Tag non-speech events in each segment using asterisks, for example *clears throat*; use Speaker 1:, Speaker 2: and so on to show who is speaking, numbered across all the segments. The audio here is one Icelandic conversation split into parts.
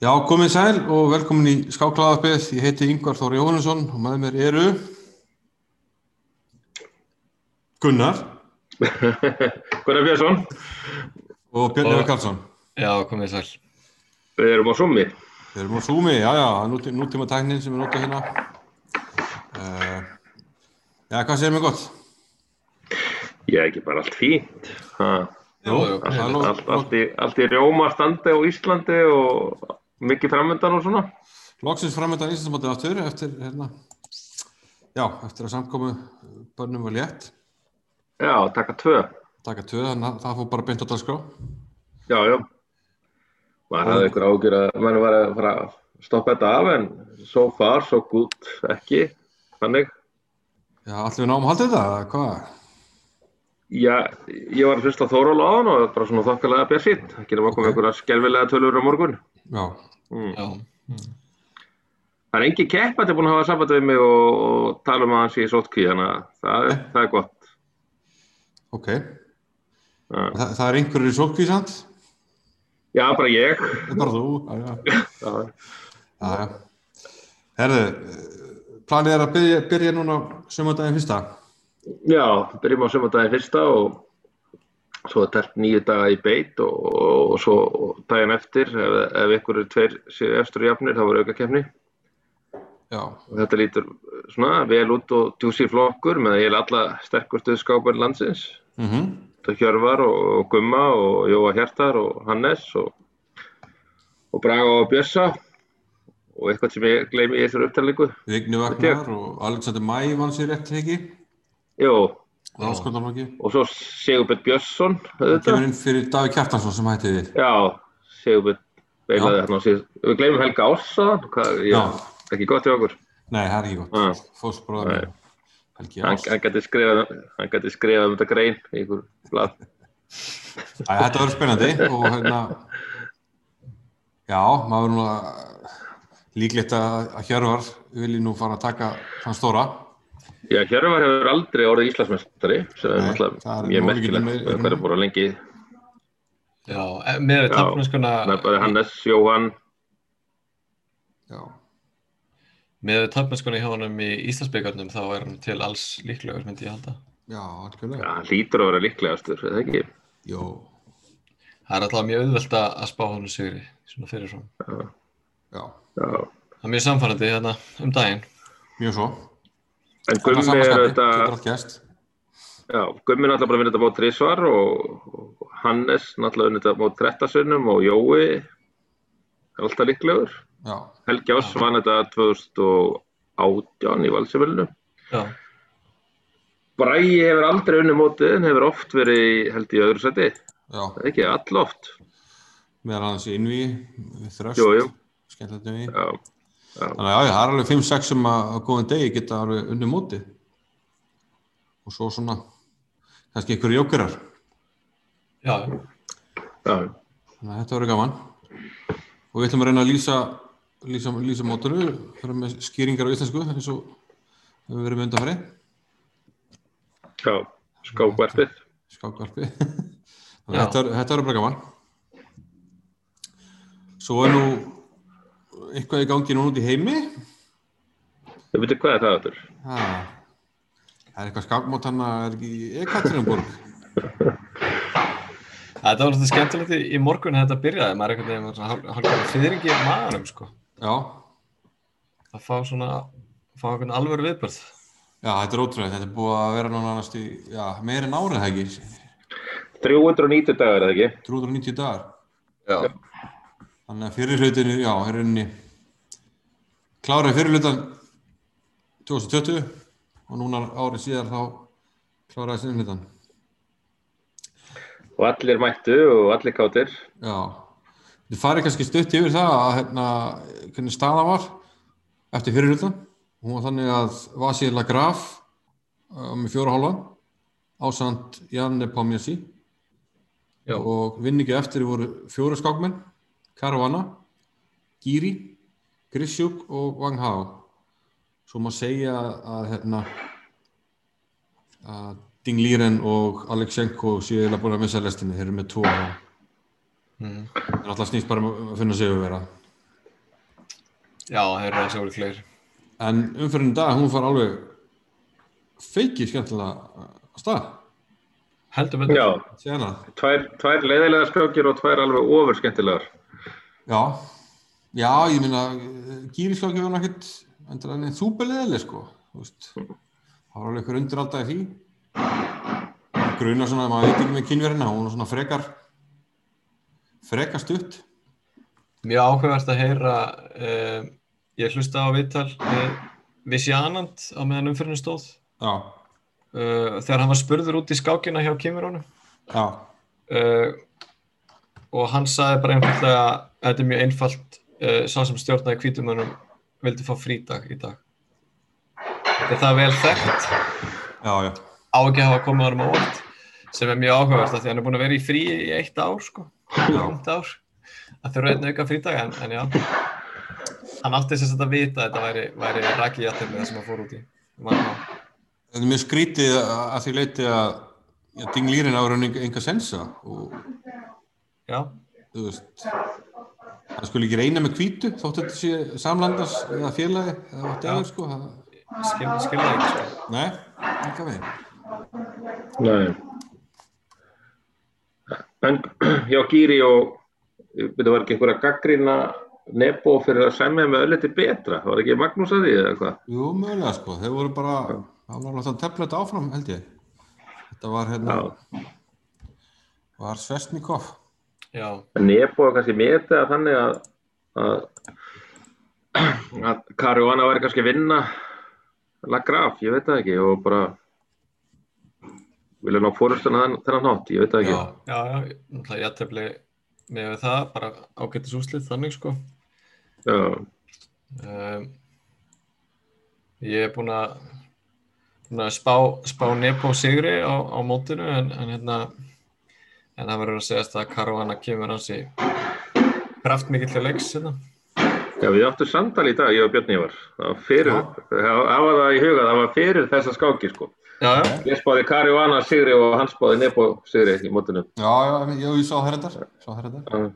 Speaker 1: Já, komið sæl og velkomin í Skáklaðarpið. Ég heiti Yngvar Þór Jóhannesson og með mér eru Gunnar
Speaker 2: Hvernig Björnsson?
Speaker 1: og Björn Efi
Speaker 3: Og-
Speaker 1: Karlsson.
Speaker 3: Já, komið sæl.
Speaker 2: Við erum á Summi.
Speaker 1: Við erum á Zoom-i, já, já, það er núti, nútíma tæknin sem við nota hérna. Uh, já, hvað segir mér gott?
Speaker 2: Ég er ekki bara allt fínt. Ha,
Speaker 1: Jú,
Speaker 3: jú,
Speaker 1: það er
Speaker 2: allt,
Speaker 1: lok-
Speaker 2: allt, allt, í, allt í rjóma standi á Íslandi og mikið framöndan og svona.
Speaker 1: Loksins framöndan Íslandsmótið aftur eftir, hérna, já, eftir að samkomi börnum var létt.
Speaker 2: Já, taka tvö.
Speaker 1: Taka tvö, þannig að það fór bara beint á dagskrá.
Speaker 2: Já, já. Maður hafði ykkur ágjur að mann var að fara að stoppa þetta af en so far, so good, ekki. Þannig.
Speaker 1: Já, allir við náum að halda þetta, eða hvað?
Speaker 2: Já, ég var að hlusta á Þóról á hann og bara svona þokkalega björnsýtt. Ekki nema að koma ykkur að skelvilega tölur á morgun.
Speaker 1: Já,
Speaker 2: Mm.
Speaker 3: Já.
Speaker 2: Það er engin keppandi búin að hafa samband við mig og, og tala um að hann sé í sótkví, þannig að það, er- það er gott.
Speaker 1: Ok,
Speaker 2: Já.
Speaker 1: Þa, það er einhverjur í sótkvísand,
Speaker 2: Já, bara ég.
Speaker 1: það er bara þú, já, já,
Speaker 2: Já,
Speaker 1: já, já. Herðu, eh, planið er að byrja, byrja núna sömandaginn fyrsta,
Speaker 2: já byrjum á sömandaginn fyrsta og svo er telt nýju daga í beit og, og, og svo daginn eftir, ef, ef ykkur er tveir séu eftir og jafnir, þá verður auka kemni.
Speaker 1: já,
Speaker 2: Og þetta lítur eh, svona vel út og djúsi flokkur með eiginlega alla sterkustu skápar landsins.
Speaker 1: mhm,
Speaker 2: Þetta er Hjörvar og, og Gumma og Jóa Hjartar og Hannes og, og Braga og Björsa og eitthvað sem ég gleymi í þessari upptalningu.
Speaker 1: Vigni Vagnar og Alexander Mæ vann sér rétt heggi,
Speaker 2: Jó,
Speaker 1: og áskondanlóki,
Speaker 2: og svo Sigurbjörn Björnsson, auðvitað.
Speaker 1: kemur inn fyrir Davík Kjartansson sem hætti við,
Speaker 2: Já, Sigurbjörn
Speaker 1: Já.
Speaker 2: veilaði hérna á síðan. Við gleymum Helga Ássaðan, hvað, já, ekki gott hjá okkur.
Speaker 1: nei, það er ekki
Speaker 2: Nei.
Speaker 1: gott, fósbróðar
Speaker 2: Nei.
Speaker 1: minn, Helgi
Speaker 2: Hann,
Speaker 1: Ást,
Speaker 2: hann gæti skrifað, hann gæti skrifað um þetta grein í ykkur blad.
Speaker 1: Æ, þetta verður spennandi og hérna, já, maður nú að líklegt að að Hjörvar vilji nú fara að taka þann stóra,
Speaker 2: Já, Hjörvar hefur aldrei orðið Íslandsmeistari, sem er
Speaker 1: Nei,
Speaker 2: náttúrulega
Speaker 1: það er
Speaker 2: mjög
Speaker 1: nú ekki
Speaker 2: merkilegt.
Speaker 1: meir-
Speaker 2: Það er bara lengi,
Speaker 3: Já, en með
Speaker 2: Já.
Speaker 3: við taflmennskuna,
Speaker 2: nefnaði Hannes, Jóhann,
Speaker 1: já.
Speaker 3: með við taflmennskuna hjá honum í Íslandsbyggarnum þá er hann til alls líklegur, myndi ég halda.
Speaker 1: Já,
Speaker 2: já,
Speaker 1: algjörlega.
Speaker 2: hann lítur að vera líklegastur, eða ekki?
Speaker 1: Jó,
Speaker 3: Það er alltaf mjög auðvelt að að spá honum sigri, svona fyrirfram.
Speaker 1: já,
Speaker 2: Já.
Speaker 3: Það er mjög samfærandi hérna um daginn.
Speaker 1: mjög svo.
Speaker 2: En Gummi er auðvitað,
Speaker 1: Getur allt gæst.
Speaker 2: já, Gummi er náttúrulega bara að vinna þetta mót þrísvar og og Hannes náttúrulega vinna þetta mót þrettasunum og Jói er alltaf líklegur.
Speaker 1: Já,
Speaker 2: Helgi Ás vann þetta 2018 í valsefölinu.
Speaker 3: Já,
Speaker 2: Bræi hefur aldrei unni mótið en hefur oft verið í- held í öðru seti.
Speaker 1: já,
Speaker 2: Það er ekki alloft.
Speaker 1: meðan hans í innví, þröst,
Speaker 2: Jú, jú.
Speaker 1: skemmtilegt innví.
Speaker 2: Já,
Speaker 1: Þannig að já, það er alveg 5-6 sem að á góðan degi geta alveg unni mótið. Og svo svona, kannski ykkur jókerar.
Speaker 3: já,
Speaker 2: já,
Speaker 1: Þannig að þetta verður gaman. Og við ætlum að reyna að lýsa, lýsa, lýsa mótinu, vera með skýringar á íslensku eins og hefur verið með undanfarið.
Speaker 2: já. Skákvarpið.
Speaker 1: skákvarpi *laughs* þannig að
Speaker 3: Já.
Speaker 1: þetta, er- þetta er bara gaman svo er nú eitthvað í gangi núna út í heimi
Speaker 2: Þau veitir hvað er það aftur?
Speaker 1: ha. það er eitthvað skákmót hann að er ekki í Ekatrinumborg
Speaker 3: Þetta var náttúrulega skemmtilegt í- í morgun þegar þetta byrjaði, maður er einhvern veginn hálfkvæmlega fyrringi í maðurum, sko.
Speaker 1: já,
Speaker 3: Að fá svona, fá einhvern alvöru viðbörð.
Speaker 1: já, þetta er ótrúlega þetta er búið að vera núna annars í já, meira en árið það ekki
Speaker 2: 390 dagar, eða ekki?
Speaker 1: 390 dagar
Speaker 3: Já.
Speaker 1: þannig að fyrir hlutinu, já, er rauninni klárið fyrir hlutan 2020 og núna árið síðar þá kláraði sinni hlutan
Speaker 2: Og allir mættu og allir kátir.
Speaker 1: Já, þið farið kannski stutt yfir það að hérna, hvernig staða var eftir fyrirhuldan. Hún var þannig að Vasið Lagraf uh, með fjóra hálfa ásand Janne Pomjasi
Speaker 3: Já.
Speaker 1: og vinningi eftir voru fjóra skákmenn, Caruana, Giri, Grissjúk og Wang Hao. Svo má segja að, hérna, að Ding Liren og Alexenko séu eiginlega búin að missa lestinni, þeir eru með tvo hálfa.
Speaker 3: Mm.
Speaker 1: Það er alltaf snýst bara um að finna sig að vera.
Speaker 3: Já, þeir eru aðeins ólíklegir.
Speaker 1: en umferðin í dag hún far alveg feiki skemmtilega að stað
Speaker 3: Heldur betur.
Speaker 2: Já,
Speaker 1: Sérna.
Speaker 2: tvær, tvær leiðilegar skjókir og tvær alveg ofur skemmtilegar.
Speaker 1: já já ég meina gýriskjóki var nákvæmt endur enn súperleðileg sko þú veist. það var alveg ykkur undir alltaf í því gruna svona maður veit ekki með kynverðina hún var svona frekar frekar stutt
Speaker 3: Mjög áhugavert að heyra, um, ég hlusta á viðtal við Vissi Anand á meðan umfyririnu stóð
Speaker 1: já,
Speaker 3: uh, þegar hann var spurður út í skákina hjá Kimurónu
Speaker 1: já,
Speaker 3: uh, og hann sagði bara einfallega þetta er mjög einfalt, uh, sá sem stjórnaði kvítumönnum vildi fá frídag í dag. Þetta er það vel þekkt
Speaker 1: já, já
Speaker 3: á ekki að hafa komið honum á óvart sem er mjög áhugavert af því hann er búin að vera í fríi í eitt ár sko, eitt ár að þurfa einn auka frídag en, en já hann átti þess að vita að þetta væri, væri rakið jættum með það sem hann fór út í Man,
Speaker 1: Þetta er mjög skrítið að að því leyti að já, dinglýrin á raunin enga sensa og
Speaker 3: já,
Speaker 1: þú veist það skulle ekki reyna með hvítu þótt þetta sé samlandas eða félagi eða vatnir sko það,
Speaker 3: skil, skil það ekki sko.
Speaker 1: nei, ekki að veginn
Speaker 2: Nei. En *clears throat* já, Gíri og þetta var ekki einhverja gaggrina Nebo fyrir að semja með ölliti betra, var ekki Magnús að því eða hvað?
Speaker 1: Jú, mögulega sko, þeir voru bara það var alltaf að tefla þetta áfram held ég þetta var hérna
Speaker 2: Já.
Speaker 1: var Svesnikov
Speaker 3: já,
Speaker 2: En Nebo var kannski metið að þannig að, að, að Karuana væri kannski að vinna Lagraf, ég veit það ekki, og bara vilja ná fórustuna þennan þennan hátt, ég veit það
Speaker 3: já,
Speaker 2: ekki.
Speaker 3: já, já náttúrulega jættumli með það bara ágættis úslið þannig sko
Speaker 2: Já.
Speaker 3: um, ég er búin að búin að spá, spá Nepo sigri á, á mótinu en, en hérna en það verður að segjast að Karuana kemur hans í kraftmikill til leiks hérna.
Speaker 2: Já, við áttum samtal í dag, ég og Björn Ívar. Það var fyrir,
Speaker 1: Já.
Speaker 2: það það var það í huga, það var fyrir þessa skáki, sko.
Speaker 3: já, já,
Speaker 2: Ég spáði Kari og Anna Sigri og hann spáði Nebo Sigri í mótunum.
Speaker 1: já, já, já, ég sá herrendar sá herrendar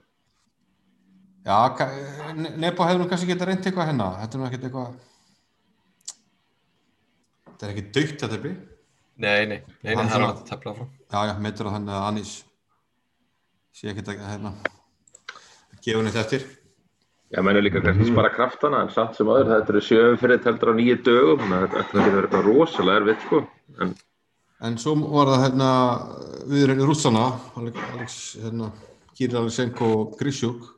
Speaker 2: Já,
Speaker 1: já, ka- Ne- Nebo hefur nú kannski geta reynt eitthvað hérna þetta er nú ekkert eitthvað þetta er ekki dautt þetta er byrjum
Speaker 3: nei, nei, nei, nei
Speaker 1: Hann
Speaker 3: það er
Speaker 1: þarf
Speaker 3: að tefla frá
Speaker 1: Já, já, meitur á þannig að Anis sé ekkert að hérna að gefa henni eftir.
Speaker 2: mennur líka kannski spara kraftana, en samt sem aður, þetta eru sjöfum fyrir teltur á nýju dögum, þannig að þetta getur verið eitthvað rosalega erfitt, sko. En
Speaker 1: En svo var það hérna við erum rússana Alex, hérna, Kirill Alexenko og Grisjúk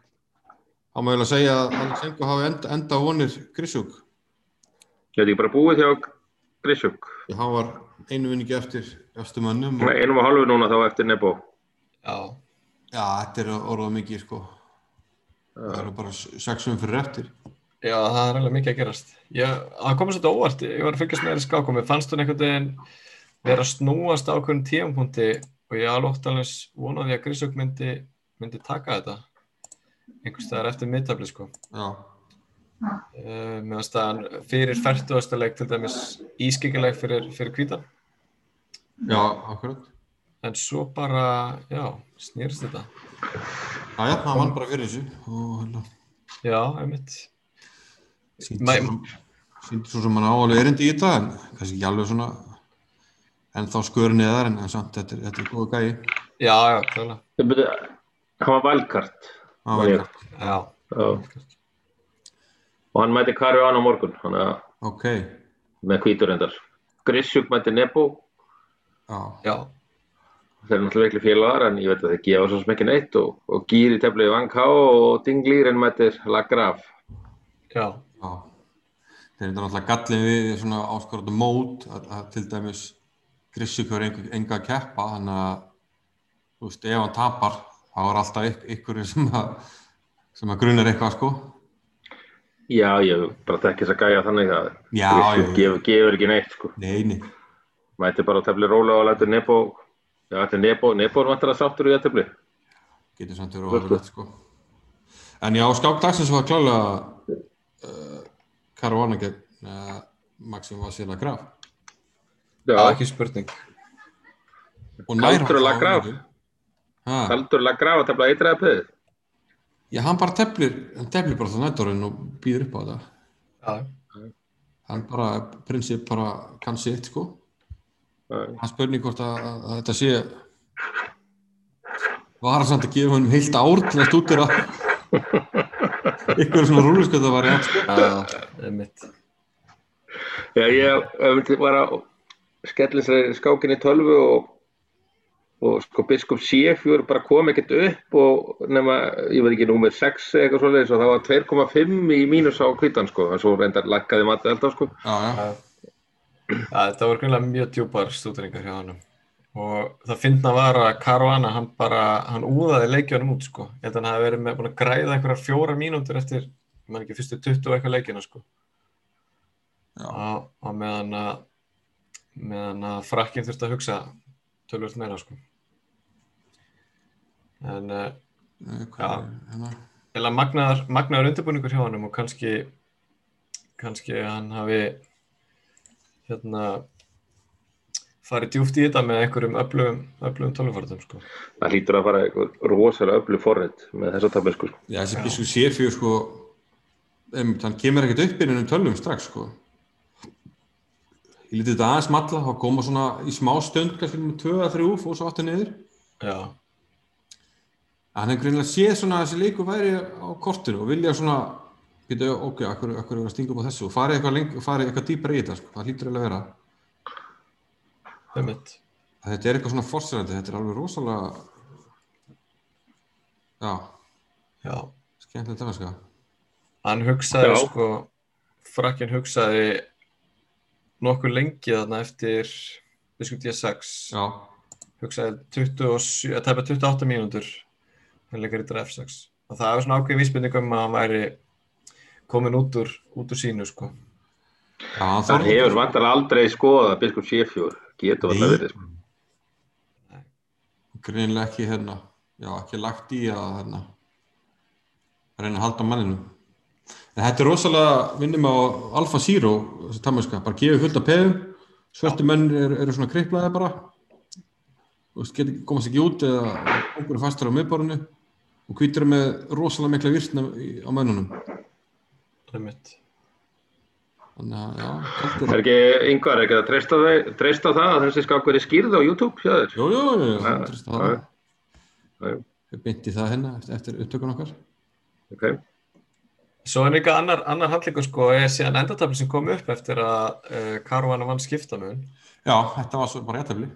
Speaker 1: þá má ég vel að segja að Alexenko hafi enda, enda vonir Grisjúk
Speaker 2: ég veit ekki bara búið hjá Grisjuk.
Speaker 1: því hann var einu vinningi eftir eftir mönnum og,
Speaker 2: Nei, einum og halvu núna þá eftir Nebo.
Speaker 3: já,
Speaker 1: Já, þetta er orðað mikið sko það eru bara sexum fyrir eftir
Speaker 3: já, það er alveg mikið að gerast ég, það kom svolítið óvart, ég var að fylgjast með þér í skákum ég fannst hún einhvern veginn vera að snúast á hverjum tíumpunkti og ég alveg óttalega vonaði að Grísök myndi, myndi taka þetta einhvers staðar eftir mittafli sko
Speaker 1: Já,
Speaker 3: Uh, meðan staðan fyrir færtugastuleik til dæmis ískikileg fyrir, fyrir kvítan
Speaker 1: já, akkurat
Speaker 3: en svo bara, já, snýrst þetta
Speaker 1: Já, já, hann vann bara fyrir þessu og hérna
Speaker 3: já, einmitt Mæ-
Speaker 1: síndi svo sem hann áalveg erindi í þetta en kannski ekki alveg svona en þá skur neðar en, en samt þetta er, þetta er góð gæi
Speaker 3: já, já, klálega
Speaker 2: Ég byrja, hann var valkart.
Speaker 1: Hann var
Speaker 2: Já.
Speaker 1: ekki-
Speaker 3: já,
Speaker 2: Já. Og hann mæti Kari og Anna á morgun, hann að
Speaker 1: ok,
Speaker 2: með hvítur endar. Grisjuk mæti Nebo
Speaker 1: já,
Speaker 3: já,
Speaker 2: þeir eru náttúrulega veikli félagar en ég veit að þeir gefa svo sem ekki neitt og, og Gíri teflaði Van Ká og Dinglýrin mættir Lagraf.
Speaker 3: já,
Speaker 1: já þeir eru náttúrulega gallin við svona áskorðum mót að, að til dæmis Grissíkur enga, enga að keppa þannig að þú veist ef hann tapar þá er alltaf ykk, ykkur sem að sem að grunar eitthvað sko
Speaker 2: Já, ég bara þekki þess að gæja þannig að
Speaker 1: Já,
Speaker 2: Grissi
Speaker 1: já, já.
Speaker 2: gefur, gefur ekki neitt sko.
Speaker 1: neini,
Speaker 2: Mættir bara að tefla róla og lætur Nebo, já þetta er Nebo, Nebo er vantar að sáttur í að tefli.
Speaker 1: getur samt verið óhæðilegt sko en já, skákdagsins var klálega uh, Caruana gegn uh, Maxim Vasila Graf
Speaker 2: Já,
Speaker 3: ekki spurning
Speaker 1: og nær
Speaker 2: Kaldur og
Speaker 1: þá
Speaker 2: Lagraf.
Speaker 1: mikið. Ha,
Speaker 2: Kaldur Lagraf að tefla eitraða pöðu.
Speaker 1: já, hann bara teflir hann teflir bara það nættorinn og býður upp á þetta
Speaker 3: Já,
Speaker 1: hann bara, prinsip bara kann sitt sko
Speaker 2: Já,
Speaker 1: hann spurning hvort að, að að þetta sé var hann samt að gefa hann heilt ár til að stúdera ykkur svona rúluskölda var sko. ég
Speaker 3: það er mitt.
Speaker 2: Já, ég myndi bara skellinslega skákin í tölvu og, og sko biskup C4 bara kom ekkert upp og nema, ég veit ekki, númer 6 eða eitthvað svoleiðis og það var 2,5 í mínus á hvítan sko, en svo reyndar lækkaði matið alltaf sko.
Speaker 1: já, já,
Speaker 3: Já, þetta voru greinlega mjög djúpar stúdringar hjá hann og það finna var að Caruana hann bara, hann úðaði leikjónum út sko, ég held að hann hafi verið með búin að græða einhverjar fjóra mínútur eftir, ég man ekki, fyrstu 20 og eitthvað leikina sko
Speaker 1: Já.
Speaker 3: og, og meðan að meðan að frakkinn þurfti að hugsa tölvöld meira sko en uh,
Speaker 1: Nei, hvað er hérna?
Speaker 3: eða magnaðar, magnaðar undirbúningur hjá hann og kannski kannski hann hafi hérna farið djúft í þetta með einhverjum öflugum, öflugum tölvufartum sko.
Speaker 2: Það hlýtur að fara eitthvað rosalega öflug forrið með þessa tabelsku sko.
Speaker 1: Já, þessi biskup Sérfjör sko em, hann kemur ekkert upp innan um tölvum strax sko ég lítið þetta aðeins matla þá koma svona í smá stund kannski um með 2-3 og svo aftur niður
Speaker 3: Já,
Speaker 1: að hann hefði greinlega séð svona að þessi leikur væri á kortinu og vilja svona geta, ok, akkur, akkur er að stinga upp á þessu og farið eitthvað, leng, farið eitthvað dýpra í þetta sko. það hlýtur eiginlega að vera
Speaker 3: einmitt.
Speaker 1: að þetta er eitthvað svona forsirandi, þetta er alveg rosalega já,
Speaker 3: Já.
Speaker 1: skemmtilegt dæmis sko.
Speaker 3: Hann hugsaði
Speaker 2: Já.
Speaker 3: sko frakkinn hugsaði nokkuð lengi þarna eftir biskup D6
Speaker 1: já,
Speaker 3: hugsaði 27, að tæpa 28 mínútur hann leikar í draf 6 og það var svona ákveðin vísbendingum að hann væri komin út úr, út úr sínu sko.
Speaker 1: já, hann
Speaker 2: Það
Speaker 1: þorði-
Speaker 2: hefur vantar aldrei skoðað biskup C4,
Speaker 1: Nei.
Speaker 2: getur varla verið sko.
Speaker 1: greinilega ekki hérna já, ekki lagt í að hérna reyna að halda manninu en þetta er rosalega vinnum á Alfa Zero, þessi tamarska bara gefið fullt af peðum, svörtu menn eru, eru svona kriplaði bara og get, komast ekki út eða okkur er fastur á miðborinu og hvítur er með rosalega mikla virkna í- á mönnunum
Speaker 3: Einmitt.
Speaker 1: þannig að já, kaldur
Speaker 2: Er ekki yngvar, er ekki að treysta, þau, treysta það að þessi skákur er skýrð á YouTube hjá þér?
Speaker 1: jú, jú, jú, jú,
Speaker 2: Já,
Speaker 1: það
Speaker 2: já, já.
Speaker 1: ég beinti það hérna eftir upptökun okkar
Speaker 2: Okay.
Speaker 3: Svo er líka annar, annar handlingur sko er síðan endartafli sem kom upp eftir að uh, Karvana vann skiptamun.
Speaker 1: já, þetta var svo bara réttafli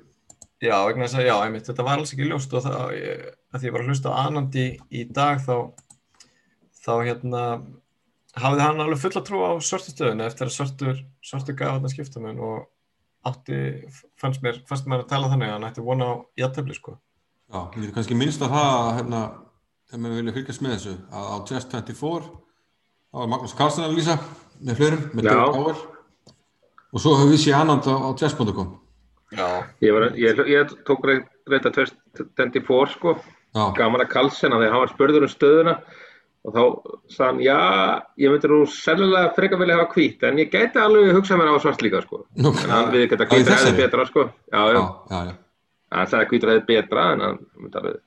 Speaker 3: Já, vegna þess að já, einmitt, þetta var alls ekki ljóst og það, ég, að því ég var að hlusta á Anandi í dag þá, þá hérna hafði hann alveg fulla trú á svörtustöðinu eftir að svörtur, svörtur gaf hann skiptamun og átti, fannst mér, fannst mér að tala þannig að hann ætti von á játtöfli sko.
Speaker 1: Já, við getum kannski minnst að það að hérna, ef maður vilja fylgjast með þessu að á Just 24 þá er Magnús Karlsson að lýsa með flerum, með
Speaker 2: Já.
Speaker 1: David Powell og svo höfum við séð annan á, á Just.com
Speaker 3: Já,
Speaker 2: Ég, var, ég, ég tók reynda 24 sko,
Speaker 1: Já,
Speaker 2: gaman að Karlsson að því að hann var spurður um stöðuna og þá sagði hann, já, ég myndi nú sennilega frekar vilja hafa hvít, en ég gæti alveg hugsað mér að hafa svart líka sko.
Speaker 1: nú
Speaker 2: En hann við
Speaker 1: *laughs* Já,
Speaker 2: geta
Speaker 1: í
Speaker 2: hvít ræði
Speaker 1: þessari?
Speaker 2: betra sko. Já, já,
Speaker 1: Já, já, já,
Speaker 2: hann sagði hvít ræði betra en hann myndi alveg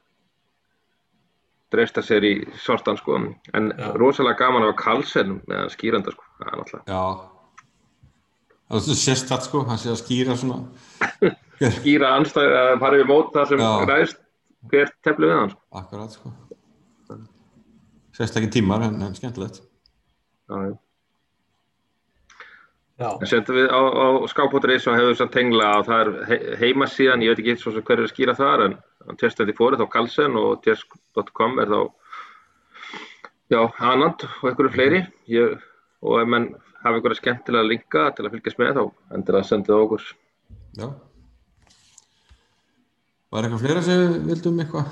Speaker 2: dreista sér í svartan sko. En
Speaker 3: Já.
Speaker 2: rosalega gaman að hafa Karlsson með hann skýranda sko. Það er náttúrulega
Speaker 1: já. Það er sérst það sko, hann sé að skýra svona
Speaker 2: skýra anstæði að fara við mót það sem
Speaker 1: Já.
Speaker 2: ræðist hver tefli við hann sko.
Speaker 1: akkurat sko sérst ekki tímar en, en skemmtilegt
Speaker 2: Já, já.
Speaker 3: já,
Speaker 2: En Settum við á, á skápóttur.is og hefur þess að tengla að það er he- heimasíðan, ég veit ekki svo sem hver er að skýra þar en test24 er þá Kalsen og test.com er þá já, Anand og einhverju fleiri ég, og ef menn hafa einhverja skemmtilega linka til að fylgjast með þá endur að senda það okkur
Speaker 1: Já Var eitthvað fleira sem við vildum eitthvað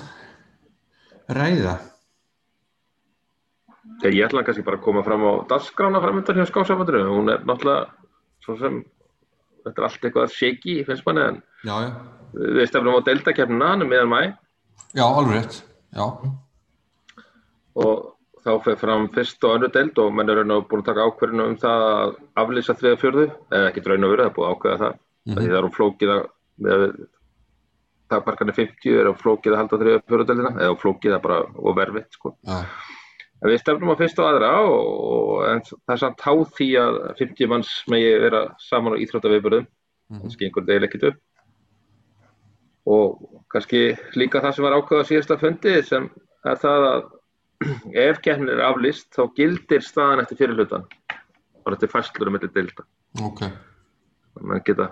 Speaker 1: ræða?
Speaker 2: Þegar ég ætla kannski bara að koma fram á dagskrána framöndan hjá skásafandurinn, hún er náttúrulega svo sem, þetta er allt eitthvað shaky, finnst manni, en
Speaker 1: Já, já
Speaker 2: við stefnum á deltakefnina hann um miðan mæ
Speaker 1: Já, alveg rétt. Já,
Speaker 2: og þá fer fram fyrst og önnur deild og menn er raun og veru búin að taka ákverðinu um það að aflýsa þriða fjörðu, eða ekki raun og veru, það er búið að ákveða það, mm því það er um flókið að með takmarkanir 50 er um flókið að halda þriða fjörðu deildina, eða flókið að bara og verfitt sko.
Speaker 1: já,
Speaker 2: En við stefnum á fyrsta og aðra og, og en það er samt háð því að 50 manns megi vera saman á íþróttaviðbörðum,
Speaker 1: Mhm.
Speaker 2: kannski einhvern veginn ekkert upp. Og kannski líka það sem var ákveða síðasta fundi sem er það að *clears throat* ef keppnin er aflýst þá gildir staðan eftir fyrirlutan og þetta er fæslur um milli deilda.
Speaker 1: ok,
Speaker 2: Menn geta,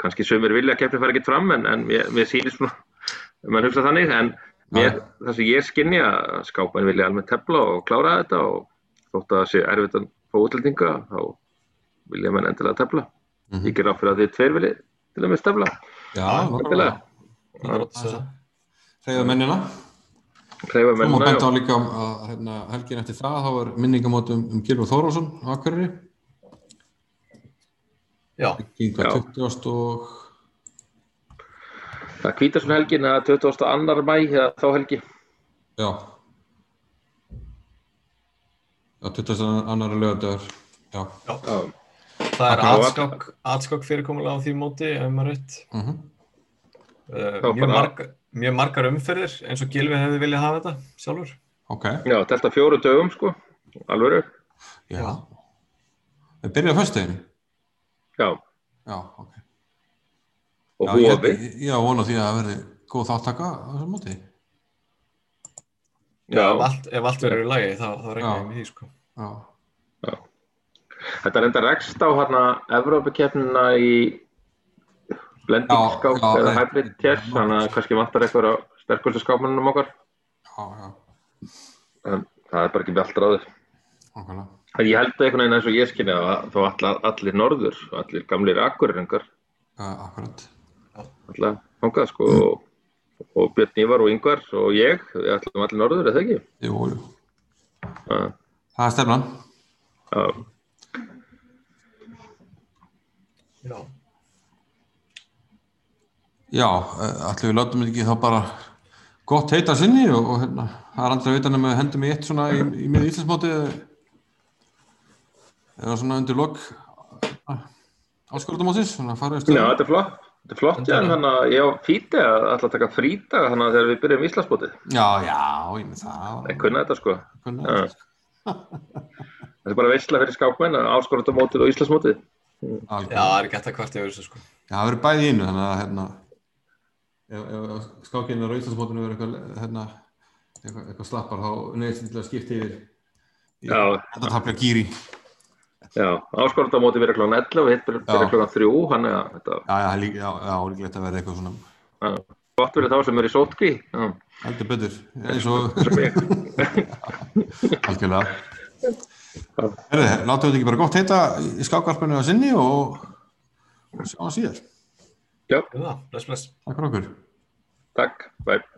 Speaker 2: kannski sömur vilja að keppnin fara ekkert fram en, en mér, mér sýnir svona, mann hugsa þannig en Mér, það sem ég skynja að skápan vilja almennt tefla og klára þetta og þótt að það sé erfitt að fá útlendinga þá vilja menn endilega tefla.
Speaker 1: Mhm.
Speaker 2: Ég ger á fyrir að þið tveir vilji til að með tefla.
Speaker 1: já,
Speaker 3: Já,
Speaker 1: nákvæmlega
Speaker 2: Endilega.
Speaker 3: Ég er ótt að segja.
Speaker 1: hreyða mennina
Speaker 2: Hreyfa
Speaker 1: Svo má
Speaker 2: mennina.
Speaker 1: benda á
Speaker 2: og-
Speaker 1: líka að hérna, helgin eftir það þá er minningamót um, um Gilvar Þórásson á Akureyri
Speaker 3: Já,
Speaker 1: í hvað
Speaker 2: Já.
Speaker 1: 20. og
Speaker 2: Það hvítar svona helgin að 22. mæ eða þá helgi.
Speaker 1: já já, 22. annar lögadagur já,
Speaker 2: Já,
Speaker 3: það er
Speaker 2: Akkurat.
Speaker 3: atskokk, atskokk fyrirkomulega á því móti, ef maður rétt.
Speaker 1: mhm
Speaker 3: Uh,
Speaker 2: Já,
Speaker 3: mjög,
Speaker 2: bara-
Speaker 3: marga, mjög margar umferðir, eins og Gilvi hefði viljað hafa þetta sjálfur.
Speaker 1: ok,
Speaker 2: Já þetta er fjóru dögum sko, alvöru.
Speaker 1: já við byrjum á föstudeginu
Speaker 2: Já,
Speaker 1: já, ok
Speaker 2: og
Speaker 1: já, ég,
Speaker 2: hófi.
Speaker 1: ég, ég á vona því að það verði góð þáttaka á þessum móti
Speaker 2: Já.
Speaker 3: Ef allt, ef allt verður í lagi, þá, þá reynir
Speaker 1: Já.
Speaker 3: ég með því, sko.
Speaker 1: já,
Speaker 2: Þetta reyndar rekst á hérna Evrópukeppnina í blending
Speaker 1: Já,
Speaker 2: skáp
Speaker 1: já,
Speaker 2: eða
Speaker 1: nei.
Speaker 2: hybrid chess, þannig að kannski vantar eitthvað á sterkustu skápmannum okkar.
Speaker 1: já, já,
Speaker 2: en það er bara ekki veldraður.
Speaker 1: okkarlega
Speaker 2: En ég held að einhvern veginn eins og ég skynja að þá allar, allir norður, allir gamlir akkuriringar,
Speaker 1: uh, akkurat
Speaker 2: allar þangað sko og, og Björn Ívar og Yngvar og ég, við ætlum allir norður, eða ekki?
Speaker 1: jú, jú,
Speaker 2: Já,
Speaker 1: það er stefnan
Speaker 2: já,
Speaker 3: Já.
Speaker 1: Já, eh, ætli við látum ekki þá bara gott heita sinni og, og hérna, það er aldrei að vita nema við hendum í eitt svona í, í miður Íslandsmóti eða svona undir lok áskorðumótis, svona farið við
Speaker 2: já
Speaker 1: stöðum.
Speaker 2: þetta er flott. Þetta er flott, já, en þannig að ég á fíti að ætla að taka frídag þannig að þegar við byrjum Íslandsbótið.
Speaker 1: Já, já, ég með það.
Speaker 2: Ég kunna þetta sko.
Speaker 1: Kunna.
Speaker 2: Já. Þetta er bara veistla fyrir skákmenn, áskorundamótið og Íslandsmótið.
Speaker 3: Já, það er ekki hægt að kvarta yfir þessu, sko.
Speaker 1: Já, það verður bæði í einu, þannig að hérna, ef, ef- ef skákinu á Íslandsmótinu verður eitthvað, hérna, eitthvað, eitthvað slappar, þá neyðist til að skipta yfir. í-
Speaker 2: Já.
Speaker 1: Þetta tapja gýri.
Speaker 2: Já, áskorundamótið verður klokkan 11 og hitt byrjar-
Speaker 1: Já.
Speaker 2: byrjar klokkan 3, þannig að þetta
Speaker 1: Já, já, lík- já, já, líklegt að verða eitthvað svona
Speaker 2: Já, gott verið þá sem eru í sótkví já,
Speaker 1: heldur betur, eins
Speaker 2: *laughs*
Speaker 1: og
Speaker 2: sem ég.
Speaker 1: algjörlega. Herðu, látum við þetta ekki bara gott heita í skákvarpinu að sinni og, og sjáum síðar.
Speaker 2: Já,
Speaker 3: Já, bless, bless.
Speaker 1: Takk fyrir okkur.
Speaker 2: takk, bæ